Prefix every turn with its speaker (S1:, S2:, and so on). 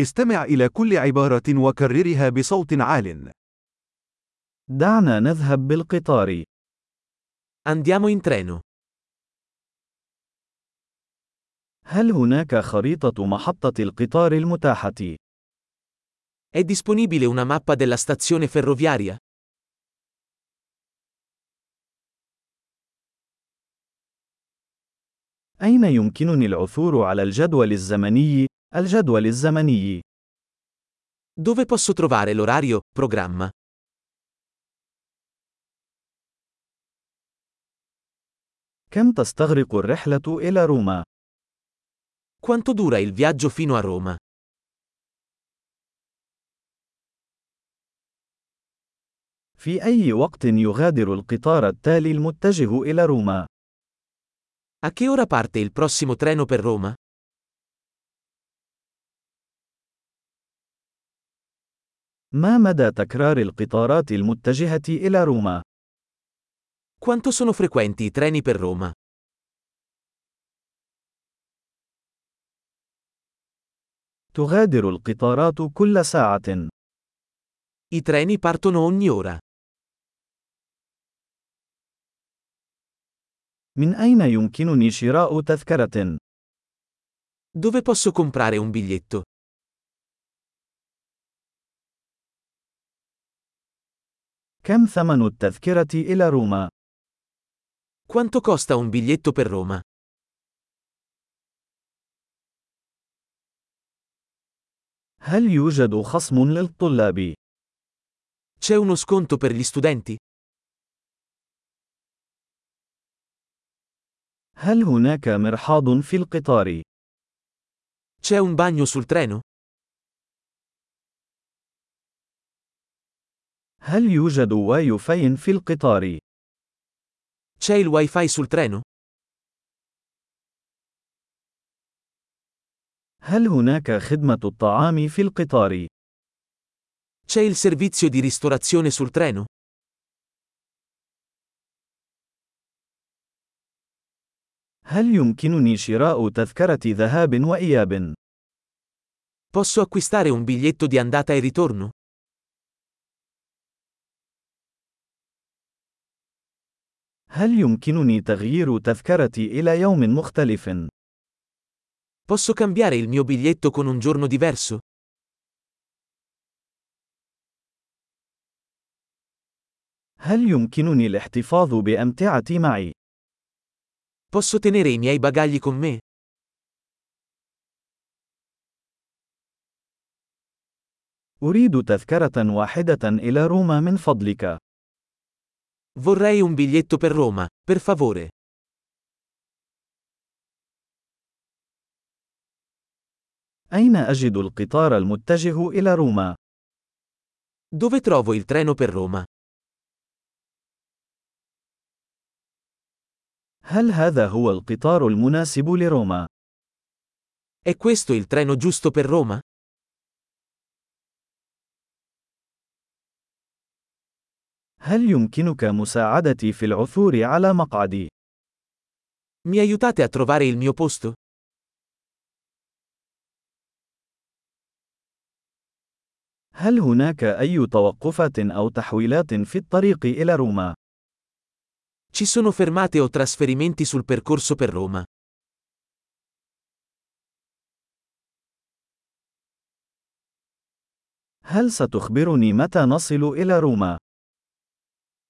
S1: استمع إلى كل عبارة وكررها بصوت عال.
S2: دعنا نذهب بالقطار.
S3: Andiamo in treno.
S2: هل هناك خريطة محطة القطار المتاحة؟
S3: È disponibile una mappa della stazione ferroviaria?
S2: أين يمكنني العثور على الجدول الزمني؟ الجدول الزمني.
S3: Dove posso trovare l'orario, programma?
S2: كم تستغرق الرحلة إلى روما؟
S3: Quanto dura il viaggio fino a Roma?
S2: في أي وقت يغادر القطار التالي المتجه إلى روما؟
S3: A che ora parte il prossimo treno per Roma?
S2: ما مدى تكرار القطارات المتجهة إلى روما؟
S3: Quanto sono frequenti i treni per Roma?
S2: تغادر القطارات كل ساعة.
S3: I treni partono ogni ora.
S2: من أين يمكنني شراء تذكرة؟
S3: Dove posso comprare un biglietto?
S2: كم ثمن التذكرة إلى روما؟
S3: Quanto costa un biglietto per Roma?
S2: هل يوجد خصم للطلاب؟
S3: C'è uno sconto per gli studenti?
S2: هل هناك مرحاض في القطار؟
S3: C'è un bagno sul treno?
S2: هل يوجد واي فاي في القطار؟
S3: C'è il wifi sul treno?
S2: هل هناك خدمة الطعام في القطار؟
S3: C'è il servizio di ristorazione sul treno?
S2: هل يمكنني شراء تذكرة ذهاب وإياب؟
S3: Posso acquistare un biglietto di andata e ritorno?
S2: هل يمكنني تغيير تذكرتي إلى يوم مختلف؟
S3: Posso cambiare il mio biglietto con un giorno diverso?
S2: هل يمكنني الاحتفاظ بأمتعتي معي؟
S3: Posso tenere i miei bagagli con me?
S2: أريد تذكرة واحدة إلى روما من فضلك.
S3: Vorrei un biglietto per Roma, per favore.
S2: أين أجد القطار المتجه إلى روما؟
S3: Dove trovo il treno per Roma?
S2: هل هذا هو القطار المناسب لروما؟
S3: È questo il treno giusto per Roma?
S2: هل يمكنك مساعدتي في العثور على مقعدي؟
S3: Mi aiutate a trovare il mio posto?
S2: هل هناك أي توقفات أو تحويلات في الطريق إلى روما؟
S3: Ci sono fermate o trasferimenti sul percorso per Roma?
S2: هل ستخبرني متى نصل إلى روما؟